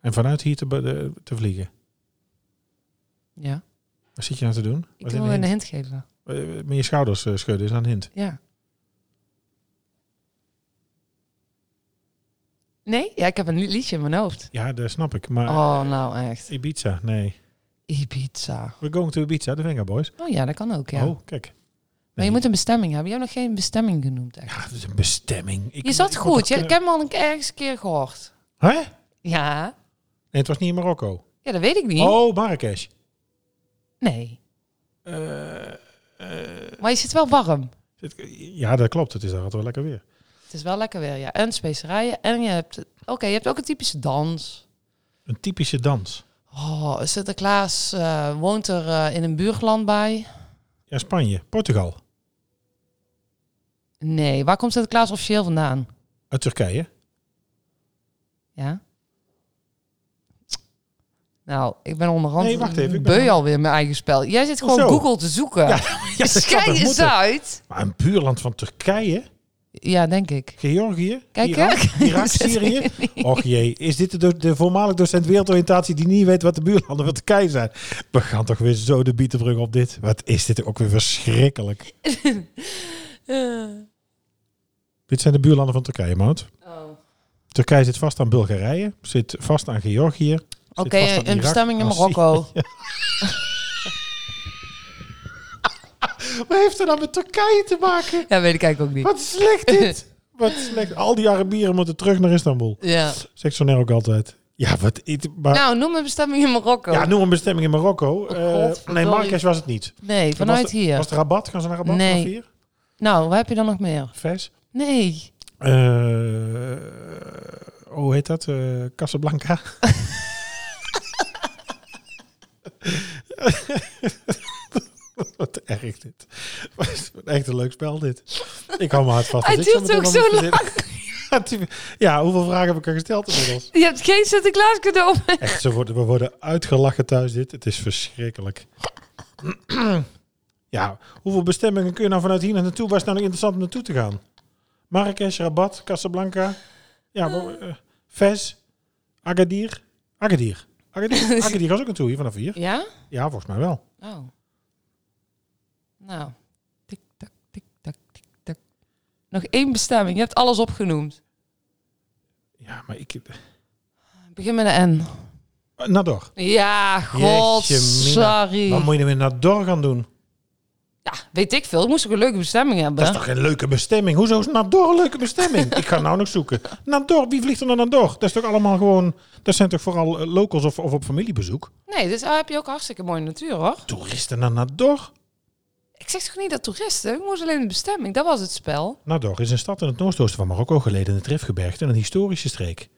En vanuit hier te, be- de- te vliegen.
Ja.
Wat zit je nou te doen?
Ik
Wat
wil
is
een
een
hint.
hint?
geven.
Eh, Met je schouders eh, schudden is aan een hint.
Ja. Nee? Ja, ik heb een li- liedje in mijn hoofd.
Ja, dat snap ik. Maar
Oh, nou echt.
Ibiza, nee.
Ibiza.
We're going to Ibiza, de Venga Boys.
Oh ja, dat kan ook, ja.
Oh, kijk.
Maar je moet een bestemming hebben. Je hebt nog geen bestemming genoemd, echt.
Ja, Ah, dat is een bestemming. Ik,
Je zat
ik moet eh,
goed.
toch
Je, ik
kunnen-
heb hem al een, ergens een keer gehoord.
Hè?
Ja.
Nee, het was niet in Marokko.
Ja, dat weet ik niet.
Oh, Marrakesh.
Nee.
Eh,
maar je zit wel warm.
Zit- Ja, dat klopt. Het is daar altijd wel lekker weer.
Het is wel lekker weer, ja. En specerijen. En je hebt... Oké, je hebt ook een typische dans.
Een typische dans.
Oh, Sinterklaas eh, woont er eh, in een buurland bij.
Ja, Spanje. Portugal.
Nee, waar komt Sinterklaas officieel vandaan?
Uit Turkije.
Ja. Nou, ik ben onderhand
Nee, wacht even, ik ben
beu
aan-
alweer in mijn eigen spel. Jij zit gewoon
zo.
Google te zoeken.
Ja, ja, dat
Schei
zou toch
eens
moeten?
uit.
Maar een buurland van Turkije,
Ja, denk ik.
Georgië,
Kijk,
Irak,
hè?
Irak, Syrië. Och jee, is dit de, do- de voormalig docent wereldoriëntatie die niet weet wat de buurlanden van Turkije zijn? We gaan toch weer zo de bietenbrug op dit. Wat is dit ook weer verschrikkelijk.
Eh.
Dit zijn de buurlanden van Turkije, Mout.
Oh.
Turkije zit vast aan Bulgarije, zit vast aan Georgië. zit
Oké,
vast aan Oh,
een
Irak,
bestemming in
aan
Marokko.
Wat heeft er nou met Turkije te maken?
Ja, weet ik eigenlijk ook niet.
Wat slecht dit. Wat slecht. Al die Arabieren moeten terug naar Istanbul.
Ja.
Zegt Soner ook altijd. Ja, wat... it- Maar,
Nou, noem een bestemming in Marokko.
ja, noem een bestemming in Marokko. Eh, nee,
godverdorie.
Marrakesh was het niet.
nee, Oh, vanuit
was de-
hier.
Was het Rabat? Gaan ze naar Rabat?
Nee.
Naar vier?
Nou, wat heb je dan nog meer?
Vijs?
Nee.
Eh, hoe heet dat? Eh, Casablanca? Wat erg dit. Wat Echt een leuk spel dit. Ik hou me hard vast.
Hij
dat ik
duurt ook
meteen
zo
al moet verzinnen. Ja, hoeveel vragen heb ik er gesteld inmiddels?
Je hebt geen Sinterklaas cadeau.
Echt, ze worden, we worden uitgelachen thuis dit. Het is verschrikkelijk. Ja, hoeveel bestemmingen kun je nou vanuit hier naar naartoe? Waar is het nou nog interessant om naartoe te gaan? Marrakesh, Rabat, Casablanca. Ja, wa- eh, Fez, Agadir. Agadir. Agadir, Agadir was ook naartoe hier vanaf hier.
Ja?
Ja, volgens mij wel.
Oh. Nou. Tik, tak, tik, tak, tik, tak. Nog één bestemming. Je hebt alles opgenoemd.
Ja, maar ik...
Begin met een N.
Eh, Nador.
Ja, god,
Jeetje, Mina.
sorry.
Wat moet je er met Nador gaan doen?
Ja, weet ik veel. Ik moest ook een leuke bestemming hebben.
Dat is toch geen leuke bestemming? Hoezo is Nador een leuke bestemming? ik ga nou nog zoeken. Nador, wie vliegt er naar Nador? Dat is toch allemaal gewoon... Dat zijn toch vooral eh, locals of, of op familiebezoek?
Nee, dus daar heb je ook hartstikke mooie natuur, hoor.
Toeristen naar Nador?
Ik zeg toch niet dat toeristen? Ik moest alleen de bestemming. Dat was het spel.
Nador is een stad in het noordoosten van Marokko gelegen in het Rifgebergte en een historische streek.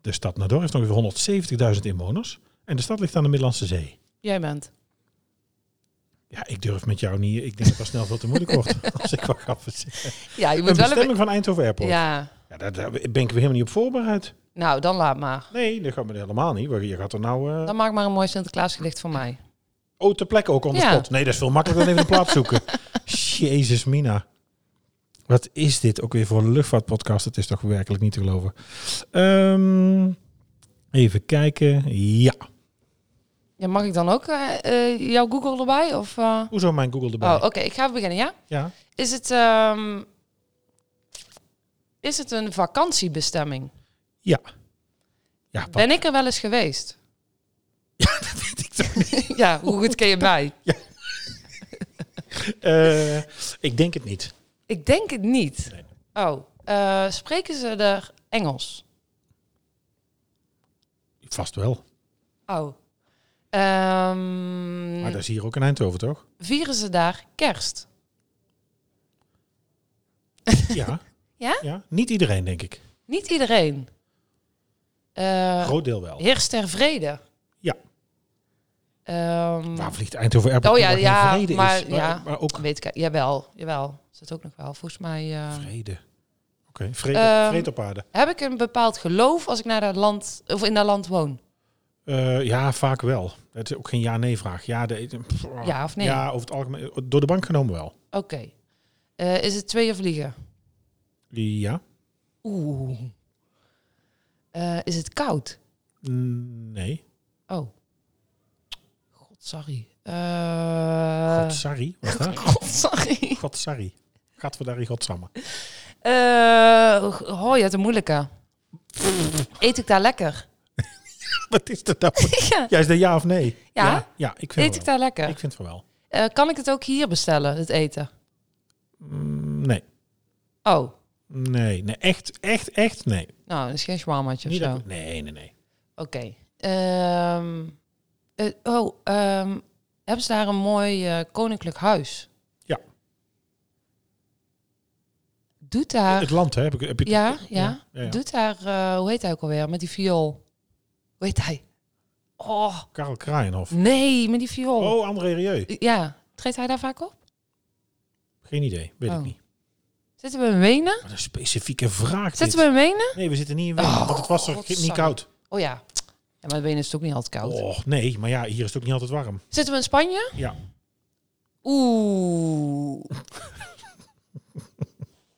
De stad Nador heeft ongeveer 170.000 inwoners en de stad ligt aan de Middellandse Zee.
Jij bent.
Ja, ik durf met jou niet. Ik denk dat dat snel veel te moeilijk wordt als ik wat ga verzinnen.
Ja, je
Een
moet wel een...
bestemming van Eindhoven
be-
Airport. Ja.
Ja,
daar, daar ben ik weer helemaal niet op voorbereid.
nou, dan laat maar.
Nee, dat gaat me helemaal niet. want Je gaat er nou... eh,
Dan maak maar een mooi Sinterklaasgedicht voor mij.
Oh, ter plekke ook on the
Ja.
spot. Nee, dat is veel makkelijker dan even een plaats zoeken. Jezus, Mina. Wat is dit ook weer voor een luchtvaartpodcast? Het is toch werkelijk niet te geloven. Ehm, even kijken. Ja.
Ja, mag ik dan ook eh, eh, jouw Google erbij? Of, eh?
Hoezo mijn Google erbij?
Oh, oké. Ik ga beginnen, ja?
Ja.
Is het, ehm, is het een vakantiebestemming?
Ja. Ja, wat-
Ben ik er wel eens geweest?
dat weet ik toch niet.
ja, hoe goed ken je mij?
Eh, ik denk het niet.
Ik denk het niet.
Nee.
Oh, eh, spreken ze er Engels?
Vast wel.
Oh. Ehm,
Maar dat is hier ook in Eindhoven, toch?
vieren ze daar kerst?
Ja.
Ja?
ja. Niet iedereen, denk ik.
Niet iedereen. Eh
Groot deel wel.
heerst ter vrede?
Ja.
Ehm,
Waar vliegt Eindhoven Airport?
Oh ja,
waar geen
ja,
vrede is,
maar-
waar-
ja.
waar ook
weet ik, jawel, jawel. Is dat ook nog wel? Volgens mij... eh,
vrede. Oké, vrede,
Ehm,
vrede op aarde.
Heb ik een bepaald geloof als ik naar dat land, of in dat land woon?
Eh, ja, vaak wel. Het is ook geen ja-nee-vraag. Ja, de, pff,
Ja of nee?
Ja, over het algemeen. Door de bank genomen wel.
Oké. Eh, is het tweeën vliegen?
Ja.
Oeh. Eh, is het koud?
Mm, Nee.
Oh. God, sorry. Eh,
God, sorry. Wat daar?
God, sorry.
God, sorry. Gaat we daar in godsamme.
Eh oh, je hebt een moeilijke. Eet ik daar lekker?
Wat is dat nou?
Ja.
Jij is de ja of nee?
Ja?
Ja, ja, ik vind
Eet
het
ik
wel.
daar lekker?
Ik vind het wel.
Eh, kan ik het ook hier bestellen, het eten?
Mm, Nee.
Oh,
Nee, nee. Echt, echt, echt nee.
nou, dat is geen shawarmaatje of
Niet
zo.
dat- nee, nee, nee.
Oké. Ehm, eh, oh, ehm, hebben ze daar een mooi eh, koninklijk huis?
Ja.
Doet daar...
Het land, hè? Heb ik, heb je
ja, ja,
ja, ja.
Doet daar... eh, hoe heet hij ook alweer? Met die viool. Hoe heet hij? Oh,
Karel Kraaienhof.
nee, met die viool.
Oh, André Rieu.
Ja. Treedt hij daar vaak op?
Geen idee. Weet ik
Oh.
niet.
Zitten we in Wenen?
Wat een specifieke vraag
Zitten
dit.
we in Wenen?
Nee, we zitten niet in Wenen. want het was er
God,
niet
sorry.
koud.
Oh ja. Ja, maar in Wenen is het ook niet altijd koud.
Och, nee, maar ja, hier is het ook niet altijd warm.
Zitten we in Spanje?
Ja.
Oeh.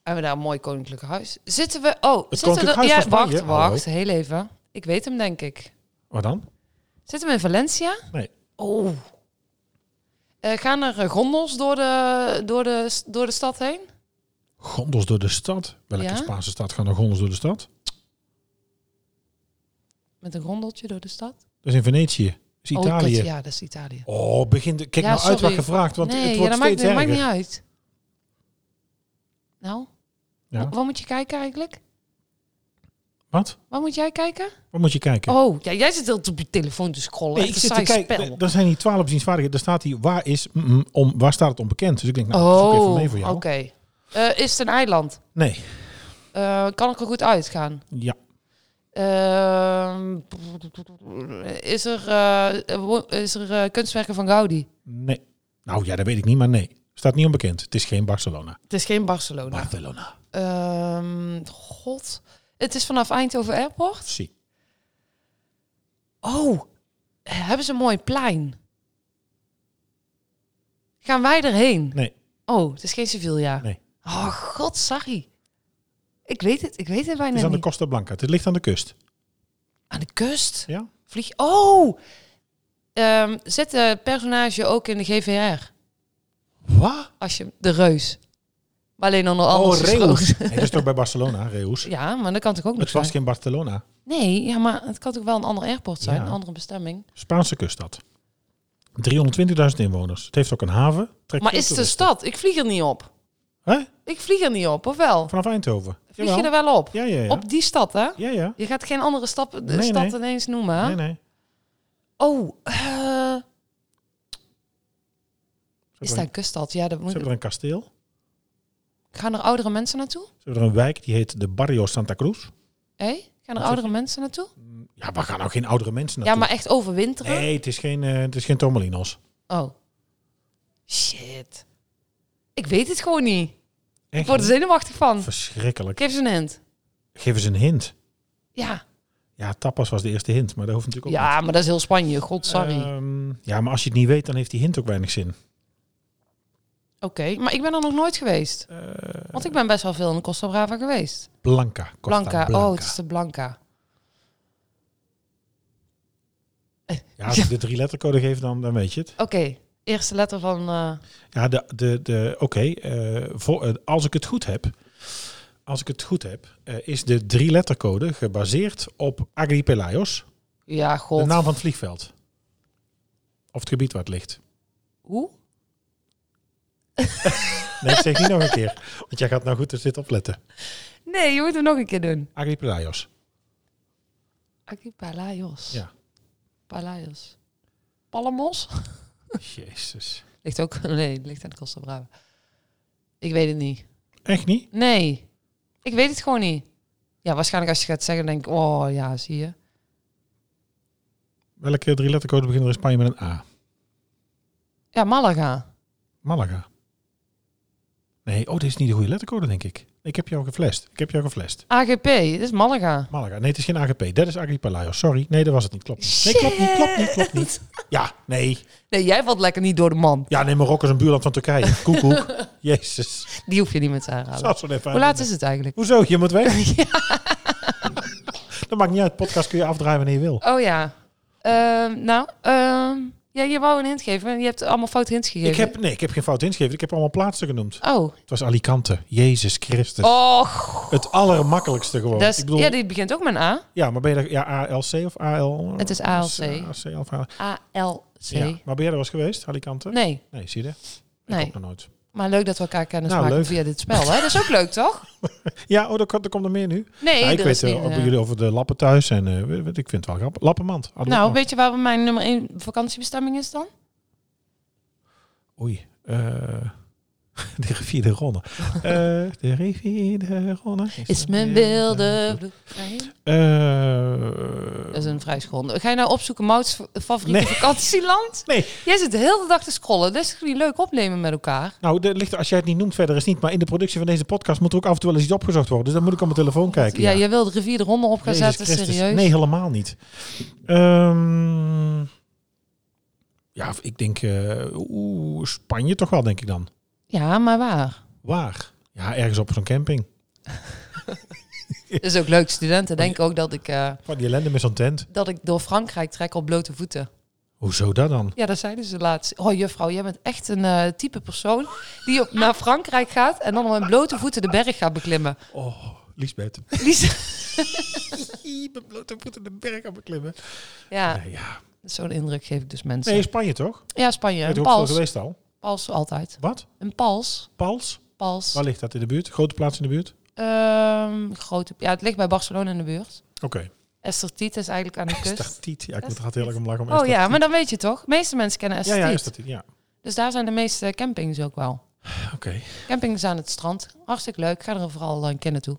Hebben we daar een mooi koninklijk huis? Zitten we... Oh,
Het
zitten we...
koninklijk huis
ja,
van Spanje?
wacht,
Hallo.
wacht. Heel even. Ik weet hem, denk ik.
Wat dan?
Zitten we in Valencia?
Nee.
Oh. Eh, gaan er eh, gondels door de, door, de, s- door de stad heen?
Gondels door de stad. Welke
Ja?
Spaanse stad gaan er gondels door de stad?
Met een gondeltje door de stad?
Dat is in Venetië. is
Oh, dat-
Italië.
ja, dat is Italië.
Oh, begin. de- Kijk
Ja,
nou uit wat
sorry.
gevraagd, want
nee,
het
ja,
wordt
dat maakt,
steeds
dat maakt
erger.
niet uit. Nou,
Ja.
wa- waar moet je kijken eigenlijk?
Wat?
Waar moet jij kijken?
Wat moet je kijken?
Oh, ja, jij zit heel op je telefoon te scrollen.
Nee,
Echt
ik zit te
een saai
kijken.
spel.
Nee, Er zijn hier twaalf zienswaardigheden. Daar staat hier waar is mm, mm, om waar staat het onbekend. Dus ik denk, nou, zoek even
oh,
mee
oké.
voor jou.
Eh, is het een eiland?
Nee,
Eh, kan ik er goed uitgaan?
ja,
Ehm, is er, eh, wo- is er eh, kunstwerken van Gaudi?
nee. Nou ja, dat weet ik niet, maar nee, staat niet onbekend. Het is geen Barcelona.
Het is geen Barcelona.
Barcelona.
Ehm, God. Het is vanaf Eindhoven Airport.
Zie.
Oh, hebben ze een mooi plein? Gaan wij erheen?
Nee,
Oh, het is geen Sevilla.
Nee.
Oh, god, sorry. Ik weet het, ik weet het bijna
het is aan de
niet.
Costa Blanca. Het ligt aan de kust.
aan de kust?
Ja.
Vlieg. Oh! Ehm, zet de personage ook in de GVR.
Wat?
Als je de reus. Maar alleen onder
Oh,
anders
Reus.
gesproken.
Nee, dat is toch bij Barcelona, Reus.
Ja, maar dat kan toch ook nog
Het was
zijn?
geen Barcelona.
Nee, ja, maar het kan toch wel een ander airport zijn?
Ja.
Een andere bestemming.
Spaanse kuststad. 320.000 inwoners. Het heeft ook een haven. Trekt
Maar
veel
is het een
toeristen.
stad? Ik vlieg er niet op.
Hè?
Ik vlieg er niet op, of wel?
Vanaf Eindhoven.
Vlieg
Jawel.
je er wel op?
Ja, ja, ja.
Op die stad, hè?
Ja, ja.
Je gaat geen andere stap, de
Nee,
stad
nee.
ineens noemen, hè?
Nee, nee.
Oh, eh,
Ze
is
hebben,
dat
een,
een kuststad? Ja, dat
ze
moet...
hebben er een kasteel.
Gaan er oudere mensen naartoe?
Ze hebben er een wijk die heet de Barrio Santa Cruz.
Hé? Gaan er
zeg
oudere mensen naartoe?
Ja, waar gaan nou geen oudere mensen
Ja,
naartoe?
maar echt overwinteren?
Nee, het is geen, eh, het is geen Tormelinos.
Oh. Shit. Ik weet het gewoon niet. Ik
Echt
word er zenuwachtig van.
verschrikkelijk.
Geef ze een hint.
Geef eens een hint.
Ja.
Ja, tapas was de eerste hint, maar dat hoeft natuurlijk ook
Ja, maar dat is heel Spanje. God,
niet.
sorry.
Ehm, ja, maar als je het niet weet, dan heeft die hint ook weinig zin.
Oké, maar ik ben er nog nooit geweest.
Eh.
Want ik ben best wel veel in de Costa Brava geweest.
Blanca. Costa
Blanca. Oh, het is de Blanca.
Ja, als ik de drie lettercode geef, dan, dan weet je het.
Oké, eerste letter van... eh,
Ja, de, de, de, oké. eh, voor- eh, als ik het goed heb, als ik het goed heb, eh, is de drie lettercode gebaseerd op Agripelaios,
Ja, god.
de naam van het vliegveld. Of het gebied waar het ligt.
Hoe?
Nee, ik zeg niet nog een keer. Want jij gaat nou goed er zitten opletten.
Nee, je moet hem nog een keer doen.
Agripelaios.
Aki Palaios.
Ja.
Palaios. Palamos?
Jezus.
Ligt ook... Nee, ligt aan de Costa Brava. Ik weet het niet.
Echt niet?
Nee. Ik weet het gewoon niet. Ja, waarschijnlijk als je gaat zeggen, denk ik... Oh, ja, zie je.
Welke drie lettercode beginnen er in Spanje met een A?
Ja, Malaga.
Malaga. Nee, oh, dit is niet de goede lettercode, denk ik. Ik heb jou geflasht. Ik heb jou geflasht.
AGP, dit is Malaga.
Malaga. Nee, het is geen AGP. Dat is Agripelaios. Sorry. Nee, dat was het niet. Klopt niet. Nee, klopt niet. Klopt niet. Klopt niet. Ja, nee.
Nee, jij valt lekker niet door de man.
Ja, nee, Marokko is een buurland van Turkije. Koekoek. Jezus.
Die hoef je niet meer te aanraden.
Zou zo even
Hoe laat is het eigenlijk?
Hoezo? Je moet weg? Dat maakt niet uit. Podcast kun je afdraaien wanneer je wil.
Oh ja. Ehm, nou, ehm, ja, je wou een hint geven. Je hebt allemaal fout hints gegeven.
Ik heb, nee, ik heb geen fout ingegeven. Ik heb allemaal plaatsen genoemd.
Oh.
Het was Alicante. Jezus Christus.
Och.
Het allermakkelijkste gewoon.
Dus,
Dus- Oh, ik bedoel,
Ja,
ja,
dit begint ook met een A.
maar ben je daar, ja, ALC of AL?
Het is ALC.
ALC eh, of AL.
A-L-C.
Ja. Maar ben jij er was geweest, Alicante?
Nee,
Nee, zie je? Ik
nee.
ook nog nooit.
Maar leuk dat we elkaar kennis
Nou,
maken
leuk.
via dit spel. Hè? Dat is ook leuk, toch?
Ja, oh, er, komt- er komt er meer nu.
Nee,
Ja, ik
er
weet
is niet,
eh, over
eh,
jullie over de lappen thuis en eh, weet- weet- ik vind het wel grappig. Lappenmand. Oh, Hadden we
Nou,
ook nog.
weet je waar mijn nummer 1 vakantiebestemming is dan?
Oei. eh, de rivier de Ronne. Eh, de rivier de Ronne.
Is
een
mijn wilde vloed. Nee,
Eh,
Dat is een vrij school. Ga je nou opzoeken Mouts favoriete
Nee.
vakantieland?
nee,
Jij zit de hele dag te scrollen. dus Dat is toch niet leuk opnemen met elkaar?
nou, dat ligt, er- als jij het niet noemt, verder is het niet. Maar in de productie van deze podcast moet er ook af en toe wel eens iets opgezocht worden. Dus dan moet ik op mijn telefoon kijken.
Ja, jij wil de rivier de ronde op gaan
Jezus
zetten,
Christus.
serieus?
Nee, helemaal niet. Ehm, ja, ik denk eh, oeh, Spanje toch wel, denk ik dan.
Ja, maar waar?
Waar? Ja, ergens op zo'n camping.
Dat is ook leuk.
Oh,
Studenten denken ook dat ik, eh,
Van die ellende met zo'n tent.
dat ik door Frankrijk trek op blote voeten.
Hoezo dat dan?
Ja, dat zeiden ze laatst. Oh, juffrouw, jij bent echt een eh, type persoon die op, naar Frankrijk gaat en dan met blote voeten de berg gaat beklimmen.
Oh, Liesbeth.
Die ze-
Mijn blote voeten de berg aan beklimmen.
Ah, ja,
Ja,
Zo'n indruk geef ik dus mensen.
Nee, in Spanje toch?
ja, Spanje.
Het
Een
hoofdstad
pals.
geweest al.
Pals altijd.
Wat?
Een pals.
Pals?
Pals.
Waar ligt dat in de buurt? Grote plaats in de buurt?
Ehm, grote, ja, het ligt bij Barcelona in de buurt.
Oké.
Esthertiet is eigenlijk aan de kust.
Estatiet. Ja, ik moet er altijd heel erg om lachen. om
Oh ja,
Estatiet.
maar dan weet je toch? De meeste mensen kennen
Ja,
Esthertiet.
ja, Estatiet. Ja.
Dus daar zijn de meeste campings ook wel.
Oké.
Campings aan het strand. Hartstikke leuk. Ga er vooral eh, een kennen toe.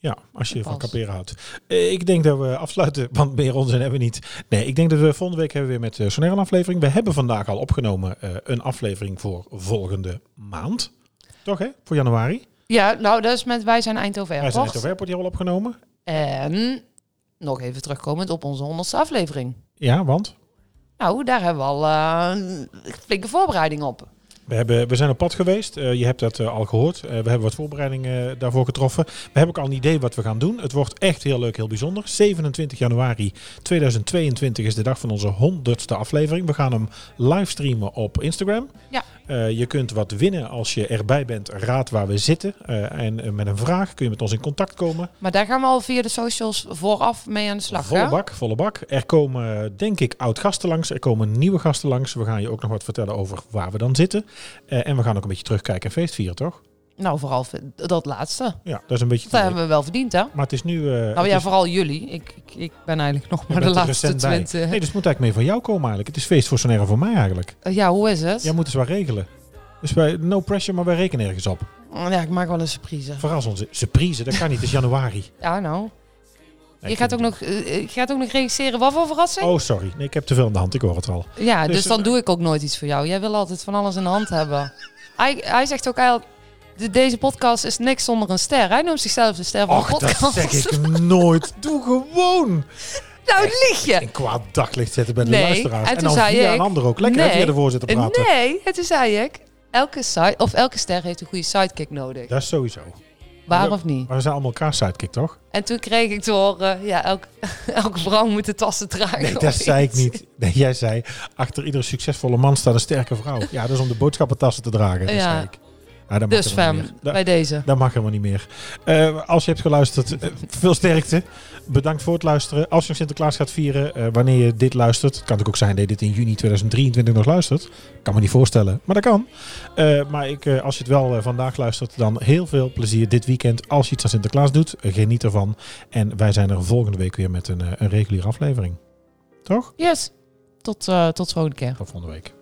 Ja, als je
Pas.
van kamperen houdt. Eh, ik denk dat we afsluiten, want meer onzin hebben we niet. Nee, ik denk dat we volgende week hebben we weer met eh, zo'n een aflevering. We hebben vandaag al opgenomen eh, een aflevering voor volgende maand. Toch hè? Voor januari.
Ja, nou, dat is met Wij zijn Eindhoven
Hij
Airport.
zijn het Airport die al opgenomen.
En nog even terugkomend op onze honderdste aflevering.
Ja, want
Nou, daar hebben we al eh, een flinke voorbereiding op.
we, hebben, we zijn op pad geweest. Eh, je hebt dat eh, al gehoord. Eh, we hebben wat voorbereidingen eh, daarvoor getroffen. We hebben ook al een idee wat we gaan doen. Het wordt echt heel leuk, heel bijzonder. 27 januari 2022 is de dag van onze 100ste aflevering. We gaan hem livestreamen op Instagram.
Ja,
Eh, je kunt wat winnen als je erbij bent. Raad waar we zitten. Eh, en eh, met een vraag kun je met ons in contact komen.
maar daar gaan we al via de socials vooraf mee aan de slag.
volle
hè?
bak, volle bak. Er komen eh, denk ik oud gasten langs. Er komen nieuwe gasten langs. We gaan je ook nog wat vertellen over waar we dan zitten. Eh, en we gaan ook een beetje terugkijken en feestvieren, toch?
Nou, vooral v- dat laatste. Dat
Ja, dat is een beetje... het idee.
hebben we wel verdiend, hè?
Maar het is nu... eh, het
Nou ja,
is-
vooral jullie. Ik, ik, ik ben eigenlijk nog
je
maar de
bent er
laatste
recent bij.
twintig.
Nee, dus het moet eigenlijk meer van jou komen eigenlijk. Het is feest voor Sonera voor mij eigenlijk.
Eh, Ja, hoe is het?
Jij moet eens wat regelen. Dus wij, no pressure, maar wij rekenen ergens op.
Oh, Ja, ik maak wel een surprise.
Verras ons. Surprise, dat kan niet. Het is januari.
Ja, nou.
Nee,
je,
ik
gaat ook
vind-
nog, eh, je gaat ook nog regisseren. Wat voor verrassing?
Oh, sorry. Nee, ik heb te veel aan de hand. Ik hoor het al.
ja,
dus
dus,
een-
dan doe ik ook nooit iets voor jou. Jij wil altijd van alles in de hand hebben. Hij, hij zegt ook al, de- deze podcast is niks zonder een ster. Hij noemt zichzelf de ster van
Och,
de
dat
podcast.
zeg ik nooit. Doe gewoon.
Nou, lieg je.
Een kwaad daglicht zetten bij de
Nee,
luisteraars.
en
En,
toen
dan
zei
via
ik-
een ander ook. Lekker hè,
Nee,
via de voorzitter praten.
Nee, het is ik. Elke, site, of elke ster heeft een goede sidekick nodig.
Dat is sowieso.
Waar
dat-
of niet?
Maar we zijn allemaal elkaar sidekick, toch?
En toen kreeg ik te horen, ja, elk, elke vrouw moet de tassen dragen.
Nee,
of
dat zei ik
iets.
niet. Nee, jij zei, achter iedere succesvolle man staat een sterke vrouw. Ja, dat is om de boodschappentassen te dragen. Dat
Ja.
zei ik. Nou, dat mag
Dus
helemaal niet
fam,
meer. Dat-
bij deze.
Dat mag helemaal niet meer. Eh, als je hebt geluisterd, eh, veel sterkte. Bedankt voor het luisteren. Als je nog Sinterklaas gaat vieren, eh, wanneer je dit luistert. Het kan natuurlijk ook zijn dat je dit in juni 2023 nog luistert. Kan me niet voorstellen, maar dat kan. Eh, maar ik, eh, als je het wel eh, vandaag luistert, dan heel veel plezier dit weekend. Als je iets aan Sinterklaas doet, eh, geniet ervan. En wij zijn er volgende week weer met een, eh, een reguliere aflevering. Toch?
Yes, tot, eh, tot volgende keer.
Tot volgende week.